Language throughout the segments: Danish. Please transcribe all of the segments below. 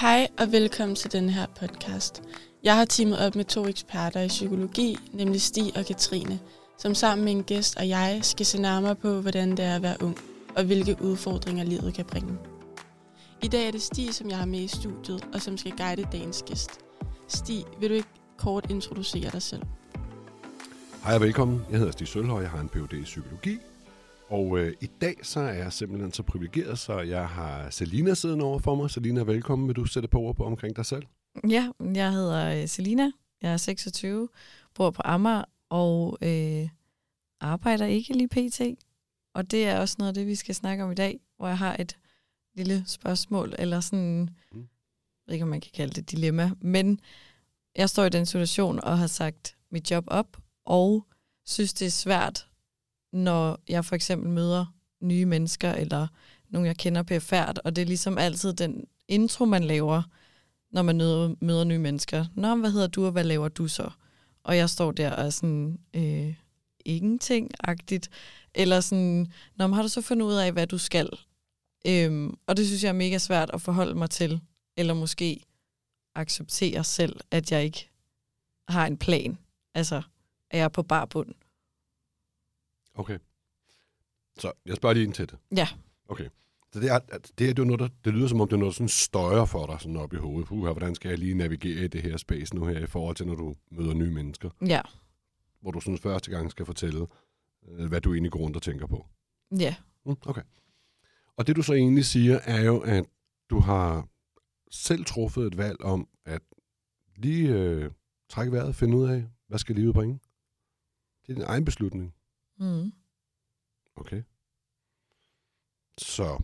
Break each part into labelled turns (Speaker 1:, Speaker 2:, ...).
Speaker 1: Hej og velkommen til denne her podcast. Jeg har teamet op med to eksperter i psykologi, nemlig Stig og Katrine, som sammen med en gæst og jeg skal se nærmere på, hvordan det er at være ung, og hvilke udfordringer livet kan bringe. I dag er det Stig, som jeg har med i studiet, og som skal guide dagens gæst. Stig, vil du ikke kort introducere dig selv?
Speaker 2: Hej og velkommen. Jeg hedder Stig Sølhøj, jeg har en Ph.D. i psykologi. Og øh, i dag så er jeg simpelthen så privilegeret, så jeg har Selina siddende over for mig. Selina, velkommen. Vil du sætte på ord på omkring dig selv?
Speaker 3: Ja, jeg hedder øh, Selina, jeg er 26, bor på Amager og øh, arbejder ikke lige pt. Og det er også noget af det, vi skal snakke om i dag, hvor jeg har et lille spørgsmål, eller sådan,
Speaker 2: Mm.
Speaker 3: jeg ved ikke om man kan kalde det dilemma, men jeg står i den situation og har sagt mit job op, og synes det er svært, når jeg for eksempel møder nye mennesker, eller nogen jeg kender perifært, og det er ligesom altid den intro, man laver, når man møder, møder nye mennesker. Nå, men hvad hedder du, og hvad laver du så? Og jeg står der og er sådan, øh, ingenting-agtigt. Eller sådan, Nå, men har du så fundet ud af, hvad du skal? Øhm, og det synes jeg er mega svært at forholde mig til. Eller måske acceptere selv, at jeg ikke har en plan. Altså, at jeg er på barbund.
Speaker 2: Okay. Så jeg spørger lige ind til det.
Speaker 3: Ja.
Speaker 2: Okay. Så det, er, at det, er, det, er jo noget, der, det lyder som om, det er noget, der sådan støjer for dig sådan op i hovedet. Puh, hvordan skal jeg lige navigere i det her space nu her i forhold til, når du møder nye mennesker?
Speaker 3: Ja,
Speaker 2: Hvor du sådan første gang skal fortælle, øh, hvad du egentlig går rundt og tænker på.
Speaker 3: ja,
Speaker 2: Mm, Okay. Og det du så egentlig siger, er jo, at du har selv truffet et valg om at lige øh, trække vejret og finde ud af, hvad skal livet bringe. Det er din egen beslutning.
Speaker 3: mm,
Speaker 2: Okay. Så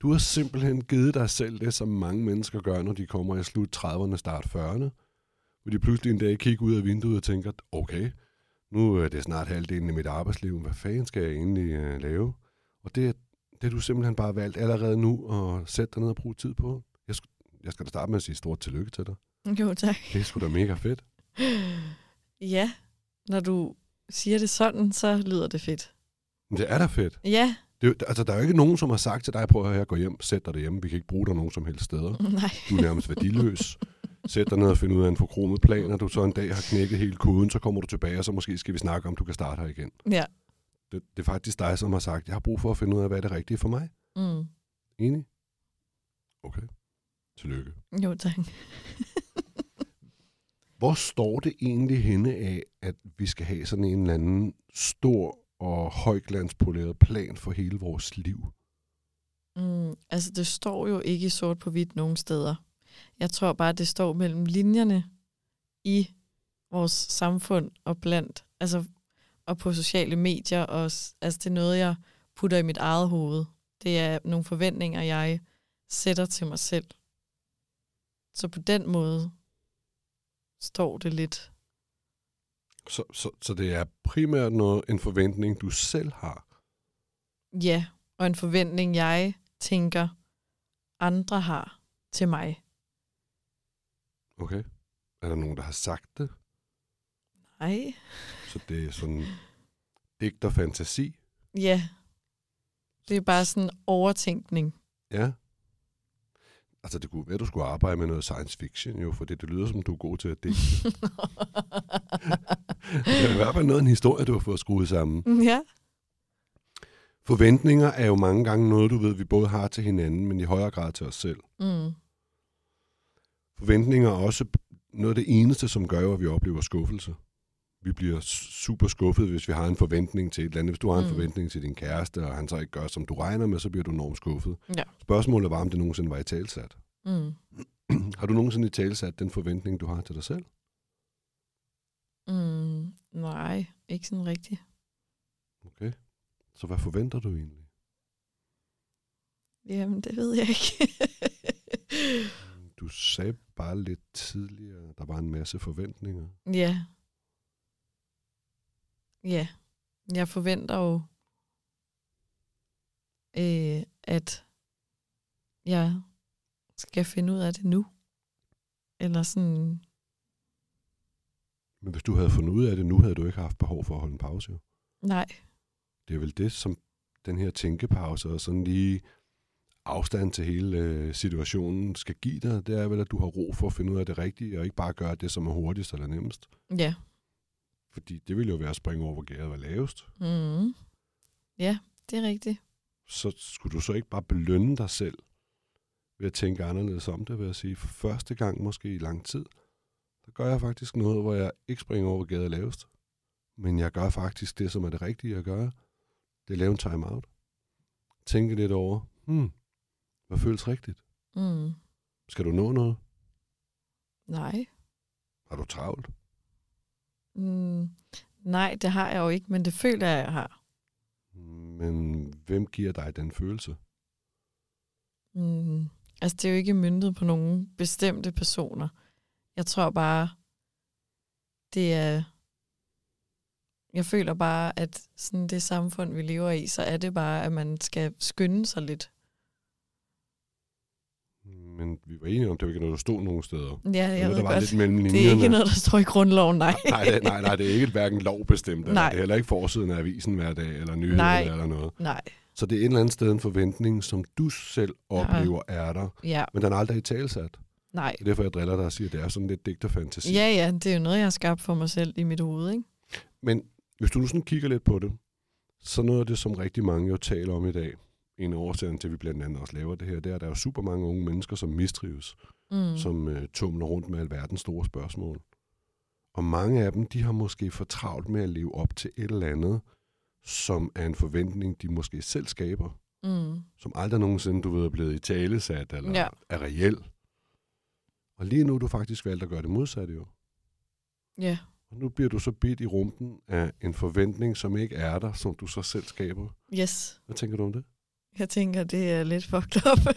Speaker 2: du har simpelthen givet dig selv det, som mange mennesker gør, når de kommer i slut 30'erne, start 40'erne. Hvor de pludselig en dag kigger ud af vinduet og tænker, okay, nu er det snart halvdelen af mit arbejdsliv. Hvad fanden skal jeg egentlig øh, lave? Og det, er- det er du simpelthen bare valgt allerede nu at sætte dig ned og bruge tid på. Jeg, sk- jeg skal da starte med at sige stort tillykke til dig.
Speaker 3: jo tak.
Speaker 2: Det er sgu da mega fedt.
Speaker 3: Ja, når du siger det sådan, så lyder det fedt.
Speaker 2: Men det er da fedt.
Speaker 3: Ja,
Speaker 2: Det, er jo- altså, der er jo ikke nogen, som har sagt til dig, prøv at høre, gå hjem, sæt dig derhjemme. Vi kan ikke bruge dig nogen som helst steder.
Speaker 3: nej.
Speaker 2: Du er nærmest værdiløs. Sæt dig ned og find ud af en forkromet plan, og du så en dag har knækket hele koden, så kommer du tilbage, og så måske skal vi snakke om, du kan starte her igen.
Speaker 3: Ja.
Speaker 2: Det, det er faktisk dig, som har sagt, jeg har brug for at finde ud af, hvad er det rigtige for mig.
Speaker 3: Mm.
Speaker 2: Enig? Okay. Tillykke.
Speaker 3: Jo, tak.
Speaker 2: Hvor står det egentlig henne af, at vi skal have sådan en eller anden stor og højglanspoleret plan for hele vores liv?
Speaker 3: Mm, altså, det står jo ikke sort på hvidt nogen steder. Jeg tror bare, det står mellem linjerne i vores samfund og blandt, altså, og på sociale medier. Og, s- altså, det er noget, jeg putter i mit eget hoved. Det er nogle forventninger, jeg sætter til mig selv. Så på den måde står det lidt.
Speaker 2: Så, så, så det er primært noget, en forventning, du selv har.
Speaker 3: Ja, og en forventning, jeg tænker, andre har til mig.
Speaker 2: Okay. Er der nogen, der har sagt det?
Speaker 3: Nej.
Speaker 2: Så det er sådan digt og fantasi.
Speaker 3: Ja. Det er bare sådan overtænkning.
Speaker 2: Ja. Altså, det kunne være, du skulle arbejde med noget science fiction, jo, for det, det lyder som, du er god til at digte. Det er i hvert fald noget af en historie, du har fået skruet sammen.
Speaker 3: ja.
Speaker 2: Forventninger er jo mange gange noget, du ved, vi både har til hinanden, men i højere grad til os selv.
Speaker 3: Mm.
Speaker 2: Forventninger er også noget af det eneste, som gør, at vi oplever skuffelse. Vi bliver s- super skuffet, hvis vi har en forventning til et eller andet. Hvis du har en
Speaker 3: Mm.
Speaker 2: forventning til din kæreste, og han så ikke gør, som du regner med, så bliver du enormt skuffet.
Speaker 3: Ja.
Speaker 2: Spørgsmålet var, om det nogensinde var i talsat.
Speaker 3: Mm.
Speaker 2: Har du nogensinde i tale sat den forventning, du har til dig selv?
Speaker 3: Mm. Nej, ikke sådan rigtigt.
Speaker 2: Okay. Så hvad forventer du egentlig?
Speaker 3: Jamen, det ved jeg ikke.
Speaker 2: Du sagde bare lidt tidligere, at der var en masse forventninger.
Speaker 3: ja. Ja. Jeg forventer jo, øh, at jeg skal finde ud af det nu. Eller sådan,
Speaker 2: Men hvis du havde fundet ud af det nu, havde du ikke haft behov for at holde en pause. jo.
Speaker 3: nej.
Speaker 2: Det er vel det, som den her tænkepause og sådan lige afstand til hele øh, situationen skal give dig, det er vel, at du har ro for at finde ud af det rigtige, og ikke bare gøre det, som er hurtigst eller nemmest.
Speaker 3: Ja.
Speaker 2: Fordi det ville jo være at springe over, hvor gæret var lavest.
Speaker 3: Mm. Ja, det er rigtigt.
Speaker 2: Så skulle du så ikke bare belønne dig selv ved at tænke anderledes om det, ved at sige, for første gang måske i lang tid, der gør jeg faktisk noget, hvor jeg ikke springer over, hvor gæret er lavest. Men jeg gør faktisk det, som er det rigtige at gøre. Det er at lave en timeout. Tænke lidt over, hmm, hvad føles rigtigt?
Speaker 3: Mm.
Speaker 2: Skal du nå noget?
Speaker 3: Nej.
Speaker 2: Har du travlt?
Speaker 3: Mm. Nej, det har jeg jo ikke, men det føler jeg, jeg har.
Speaker 2: Men hvem giver dig den følelse?
Speaker 3: Mm. Altså, det er jo ikke myndet på nogen bestemte personer. Jeg tror bare, det er... Jeg føler bare, at sådan det samfund, vi lever i, så er det bare, at man skal skynde sig lidt.
Speaker 2: Men vi var enige om, det var ikke noget, der stod nogen steder.
Speaker 3: Ja, jeg
Speaker 2: det var
Speaker 3: ved
Speaker 2: der var
Speaker 3: godt.
Speaker 2: lidt mellem linjerne.
Speaker 3: Det er ikke noget, der står i grundloven, nej.
Speaker 2: nej, det, nej, nej, det er ikke et hverken lovbestemt, eller
Speaker 3: Nej.
Speaker 2: det er heller ikke forsiden af avisen hver dag, eller nyheder
Speaker 3: Nej.
Speaker 2: eller noget.
Speaker 3: Nej,
Speaker 2: Så det er et eller andet sted en forventning, som du selv
Speaker 3: Ja.
Speaker 2: oplever er der,
Speaker 3: ja,
Speaker 2: men den er aldrig i talsat.
Speaker 3: nej.
Speaker 2: Det er derfor, jeg driller dig og siger, at det er sådan lidt digterfantasi.
Speaker 3: Ja, ja, det er jo noget, jeg har skabt for mig selv i mit hoved, ikke?
Speaker 2: Men hvis du nu sådan kigger lidt på det, så noget af det, som rigtig mange jo taler om i dag, en af årsagerne til, at vi blandt andet også laver det her, det er, at der er jo super mange unge mennesker, som mistrives.
Speaker 3: Mm.
Speaker 2: mm. som øh, tumler rundt med alverdens store spørgsmål. Og mange af dem, de har måske for travlt med at leve op til et eller andet, som er en forventning, de måske selv skaber,
Speaker 3: Mm.
Speaker 2: som aldrig nogensinde, du ved, er blevet i talesat eller
Speaker 3: Ja.
Speaker 2: ja. er reelt. Og lige nu har du faktisk valgt at gøre det modsatte jo.
Speaker 3: Ja,
Speaker 2: Og nu bliver du så bidt i rumpen af en forventning, som ikke er der, som du så selv skaber.
Speaker 3: yes.
Speaker 2: Hvad tænker du om det?
Speaker 3: Jeg tænker, det er lidt fucked up.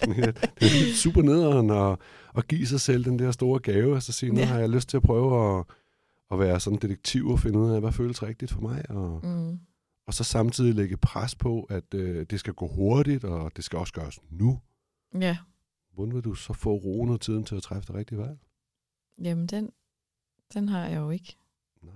Speaker 2: det er super nederen at, at give sig selv den der store gave, og så sige, nu
Speaker 3: Ja.
Speaker 2: har jeg lyst til at prøve at, at være sådan detektiv og finde ud af, hvad føles rigtigt for mig, og,
Speaker 3: mm.
Speaker 2: og så samtidig lægge pres på, at øh, det skal gå hurtigt, og det skal også gøres nu.
Speaker 3: Ja,
Speaker 2: Hvordan vil du så få roen og tiden til at træffe det rigtige valg?
Speaker 3: jamen den, den har jeg jo ikke.
Speaker 2: Nej.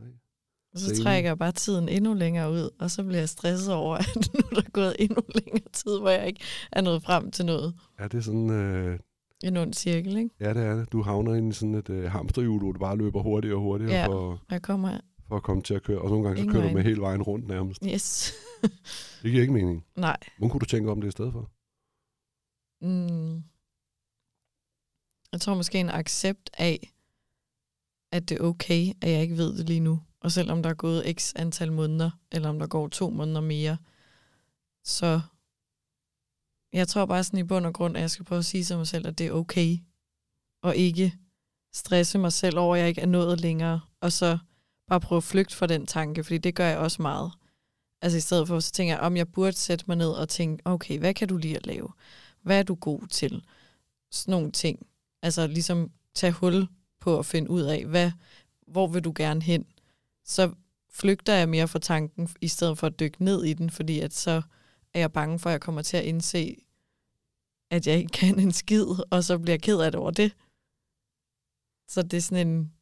Speaker 3: Og så
Speaker 2: Same.
Speaker 3: trækker jeg bare tiden endnu længere ud, og så bliver jeg stresset over, at nu er der gået endnu længere tid, hvor jeg ikke er nået frem til noget.
Speaker 2: Er det sådan, øh,
Speaker 3: En ond cirkel, ikke?
Speaker 2: ja det er det. Du havner ind i sådan et øh, hamsterhjul, hvor du bare løber hurtigere og hurtigere
Speaker 3: Ja.
Speaker 2: for,
Speaker 3: Og jeg kommer...
Speaker 2: for at komme til at køre, og nogle gange så
Speaker 3: Ingen
Speaker 2: kører du
Speaker 3: vegne.
Speaker 2: med hele vejen rundt nærmest.
Speaker 3: Yes.
Speaker 2: Det giver ikke mening.
Speaker 3: Nej.
Speaker 2: Hvordan kunne du tænke om det i stedet for?
Speaker 3: Mm. Jeg tror måske en accept af, at det er okay, at jeg ikke ved det lige nu. Og selvom der er gået x antal måneder, eller om der går to måneder mere, så jeg tror bare sådan i bund og grund, at jeg skal prøve at sige til mig selv, at det er okay. Og ikke stresse mig selv over, at jeg ikke er nået længere. Og så bare prøve at flygte fra den tanke, fordi det gør jeg også meget. Altså i stedet for, så tænker jeg, om jeg burde sætte mig ned og tænke, okay, hvad kan du lige at lave? Hvad er du god til? Sådan nogle ting. Altså ligesom tage hul på at finde ud af, hvad, hvor vil du gerne hen? Så flygter jeg mere fra tanken, i stedet for at dykke ned i den, fordi at så er jeg bange for, at jeg kommer til at indse, at jeg ikke kan en skid, og så bliver jeg ked af det over det. Så det er sådan en,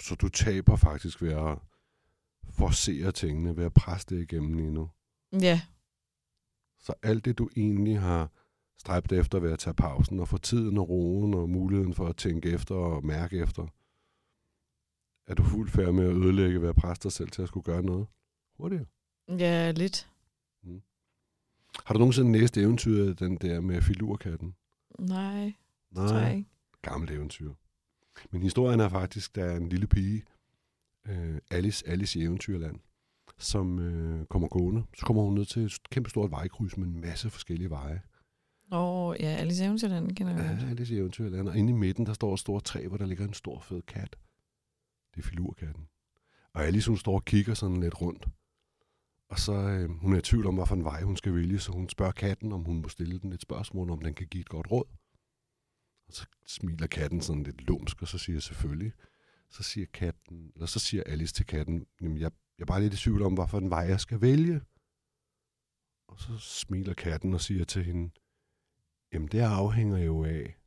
Speaker 2: Så du taber faktisk ved at forsere tingene, ved at presse det igennem lige nu.
Speaker 3: ja,
Speaker 2: Så alt det, du egentlig har stræbt efter ved at tage pausen og få tiden og roen og muligheden for at tænke efter og mærke efter, er du fuldt færdig med at ødelægge ved at presse dig selv til at skulle gøre noget hurtigere.
Speaker 3: ja, lidt.
Speaker 2: Har du nogensinde læst eventyret den der med filurkatten?
Speaker 3: Nej, Nej. tror jeg ikke.
Speaker 2: gammelt eventyr. Men historien er faktisk, der er en lille pige, øh, Alice, Alice i Eventyrland, som øh, kommer gående. Så kommer hun ned til et kæmpe stort vejkryds med en masse forskellige veje.
Speaker 3: Nå, ja, Alice Eventyrland kender jeg
Speaker 2: Ja,
Speaker 3: godt.
Speaker 2: Alice i Eventyrland. Og inde i midten, der står et stort træ, hvor der ligger en stor fed kat. Det er filurkatten. Og Alice, hun står og kigger sådan lidt rundt. Og så øh, hun er i tvivl om, hvad for en vej hun skal vælge, så hun spørger katten, om hun må stille den et spørgsmål, om den kan give et godt råd. Og så smiler katten sådan lidt lumsk, og så siger jeg selvfølgelig. Så siger, katten, eller så siger Alice til katten, Jamen, jeg, jeg er bare lidt i tvivl om, hvad for en vej jeg skal vælge. Og så smiler katten og siger til hende, Jamen, det afhænger jo af,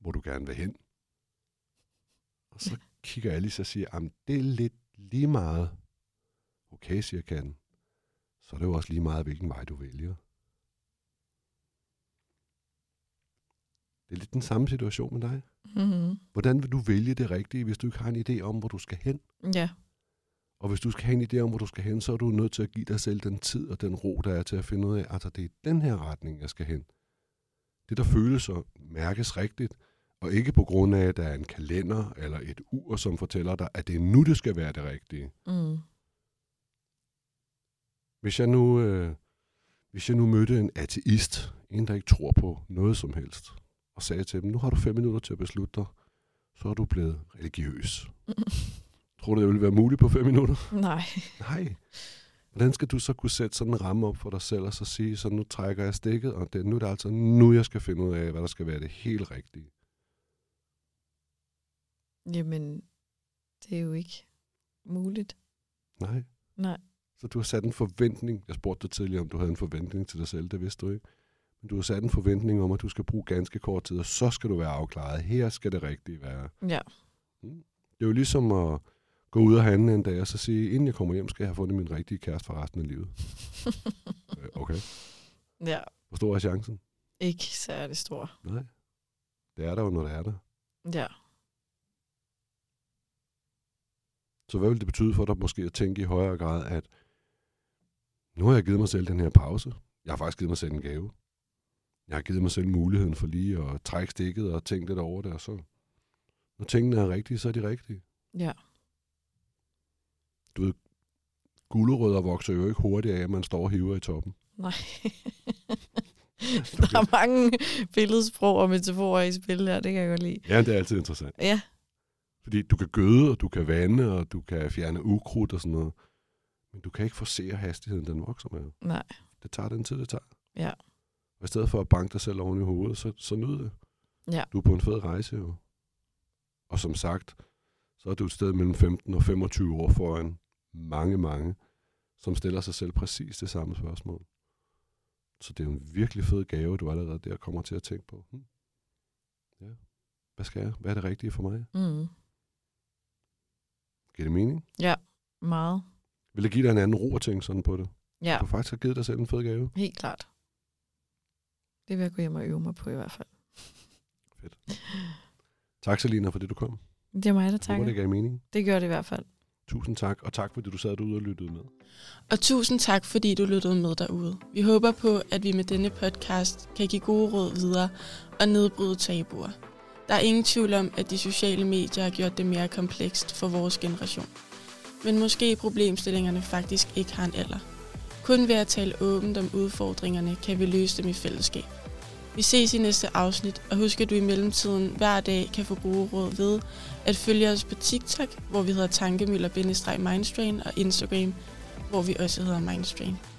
Speaker 2: hvor du gerne vil hen. Og så kigger Alice og siger, jamen, det er lidt lige meget. Okay, siger katten. Så er det jo også lige meget, hvilken vej du vælger. Det er lidt den samme situation med dig.
Speaker 3: Mm-hmm.
Speaker 2: Hvordan vil du vælge det rigtige, hvis du ikke har en idé om, hvor du skal hen?
Speaker 3: Ja,
Speaker 2: Og hvis du skal have en idé om, hvor du skal hen, så er du nødt til at give dig selv den tid og den ro, der er til at finde ud af, altså det er den her retning, jeg skal hen. Det, der føles og mærkes rigtigt, og ikke på grund af, at der er en kalender eller et ur, som fortæller dig, at det er nu, det skal være det rigtige.
Speaker 3: mm.
Speaker 2: Hvis jeg nu, øh, hvis jeg nu mødte en ateist, en der ikke tror på noget som helst, og sagde til dem, nu har du fem minutter til at beslutte dig, så er du blevet religiøs. Tror du, det ville være muligt på fem minutter?
Speaker 3: nej.
Speaker 2: Nej. Hvordan skal du så kunne sætte sådan en ramme op for dig selv, og så sige, så nu trækker jeg stikket, og det, nu er det altså nu, jeg skal finde ud af, hvad der skal være det helt rigtige.
Speaker 3: Jamen, det er jo ikke muligt.
Speaker 2: Nej.
Speaker 3: Nej.
Speaker 2: Så du har sat en forventning. Jeg spurgte dig tidligere, om du havde en forventning til dig selv, det vidste du ikke. Men du har sat en forventning om, at du skal bruge ganske kort tid, og så skal du være afklaret. Her skal det rigtige være.
Speaker 3: Ja.
Speaker 2: Det er jo ligesom at gå ud og handle en dag, og så sige, inden jeg kommer hjem, skal jeg have fundet min rigtige kæreste for resten af livet. Øh, okay.
Speaker 3: ja,
Speaker 2: Hvor stor er chancen?
Speaker 3: ikke særlig stor.
Speaker 2: Nej. Det er der jo, når det er der.
Speaker 3: Ja.
Speaker 2: Så hvad vil det betyde for dig måske at tænke i højere grad, at nu har jeg givet mig selv den her pause. Jeg har faktisk givet mig selv en gave. Jeg har givet mig selv muligheden for lige at trække stikket og tænke lidt over det, og så når tingene er rigtige, så er de rigtige.
Speaker 3: Ja.
Speaker 2: Du ved, gulerødder vokser jo ikke hurtigt af, at man står og hiver i toppen.
Speaker 3: Nej.
Speaker 2: Du
Speaker 3: Der er mange billedsprog og metaforer i spil her, det kan jeg godt lide.
Speaker 2: Ja, det er altid interessant.
Speaker 3: Ja,
Speaker 2: Fordi du kan gøde, og du kan vande, og du kan fjerne ukrudt og sådan noget. Men du kan ikke forse hastigheden, den vokser med.
Speaker 3: nej.
Speaker 2: Det tager den tid, det tager.
Speaker 3: Ja.
Speaker 2: Og i stedet for at banke dig selv oven i hovedet, så, så nyd det.
Speaker 3: Ja.
Speaker 2: Du er på en fed rejse jo. Og som sagt, så er du et sted mellem 15 og 25 år foran mange, mange, som stiller sig selv præcis det samme spørgsmål. Så det er jo en virkelig fed gave, du allerede der kommer til at tænke på. Hm. Ja. Hvad skal jeg? Hvad er det rigtige for mig?
Speaker 3: Mm.
Speaker 2: Giver det mening?
Speaker 3: Meget.
Speaker 2: Vil det give dig en anden ro at tænke sådan på det?
Speaker 3: Ja,
Speaker 2: Du har faktisk har givet dig selv en fed gave.
Speaker 3: helt klart. Det vil jeg gå hjem og øve mig på i hvert fald.
Speaker 2: Tak, Selina, for det, du kom.
Speaker 3: Det er mig, der
Speaker 2: Jeg håber,
Speaker 3: takker.
Speaker 2: det gav mening.
Speaker 3: Det gør det i hvert fald.
Speaker 2: Tusind tak, og tak fordi du sad derude og lyttede med.
Speaker 1: Og tusind tak, fordi du lyttede med derude. Vi håber på, at vi med denne podcast kan give gode råd videre og nedbryde tabuer. Der er ingen tvivl om, at de sociale medier har gjort det mere komplekst for vores generation. Men måske problemstillingerne faktisk ikke har en alder. Kun ved at tale åbent om udfordringerne, kan vi løse dem i fællesskab. Vi ses i næste afsnit, og husk, at du i mellemtiden hver dag kan få gode råd ved at følge os på TikTok, hvor vi hedder tankemøller-mindstrain og Instagram, hvor vi også hedder Mindstrain.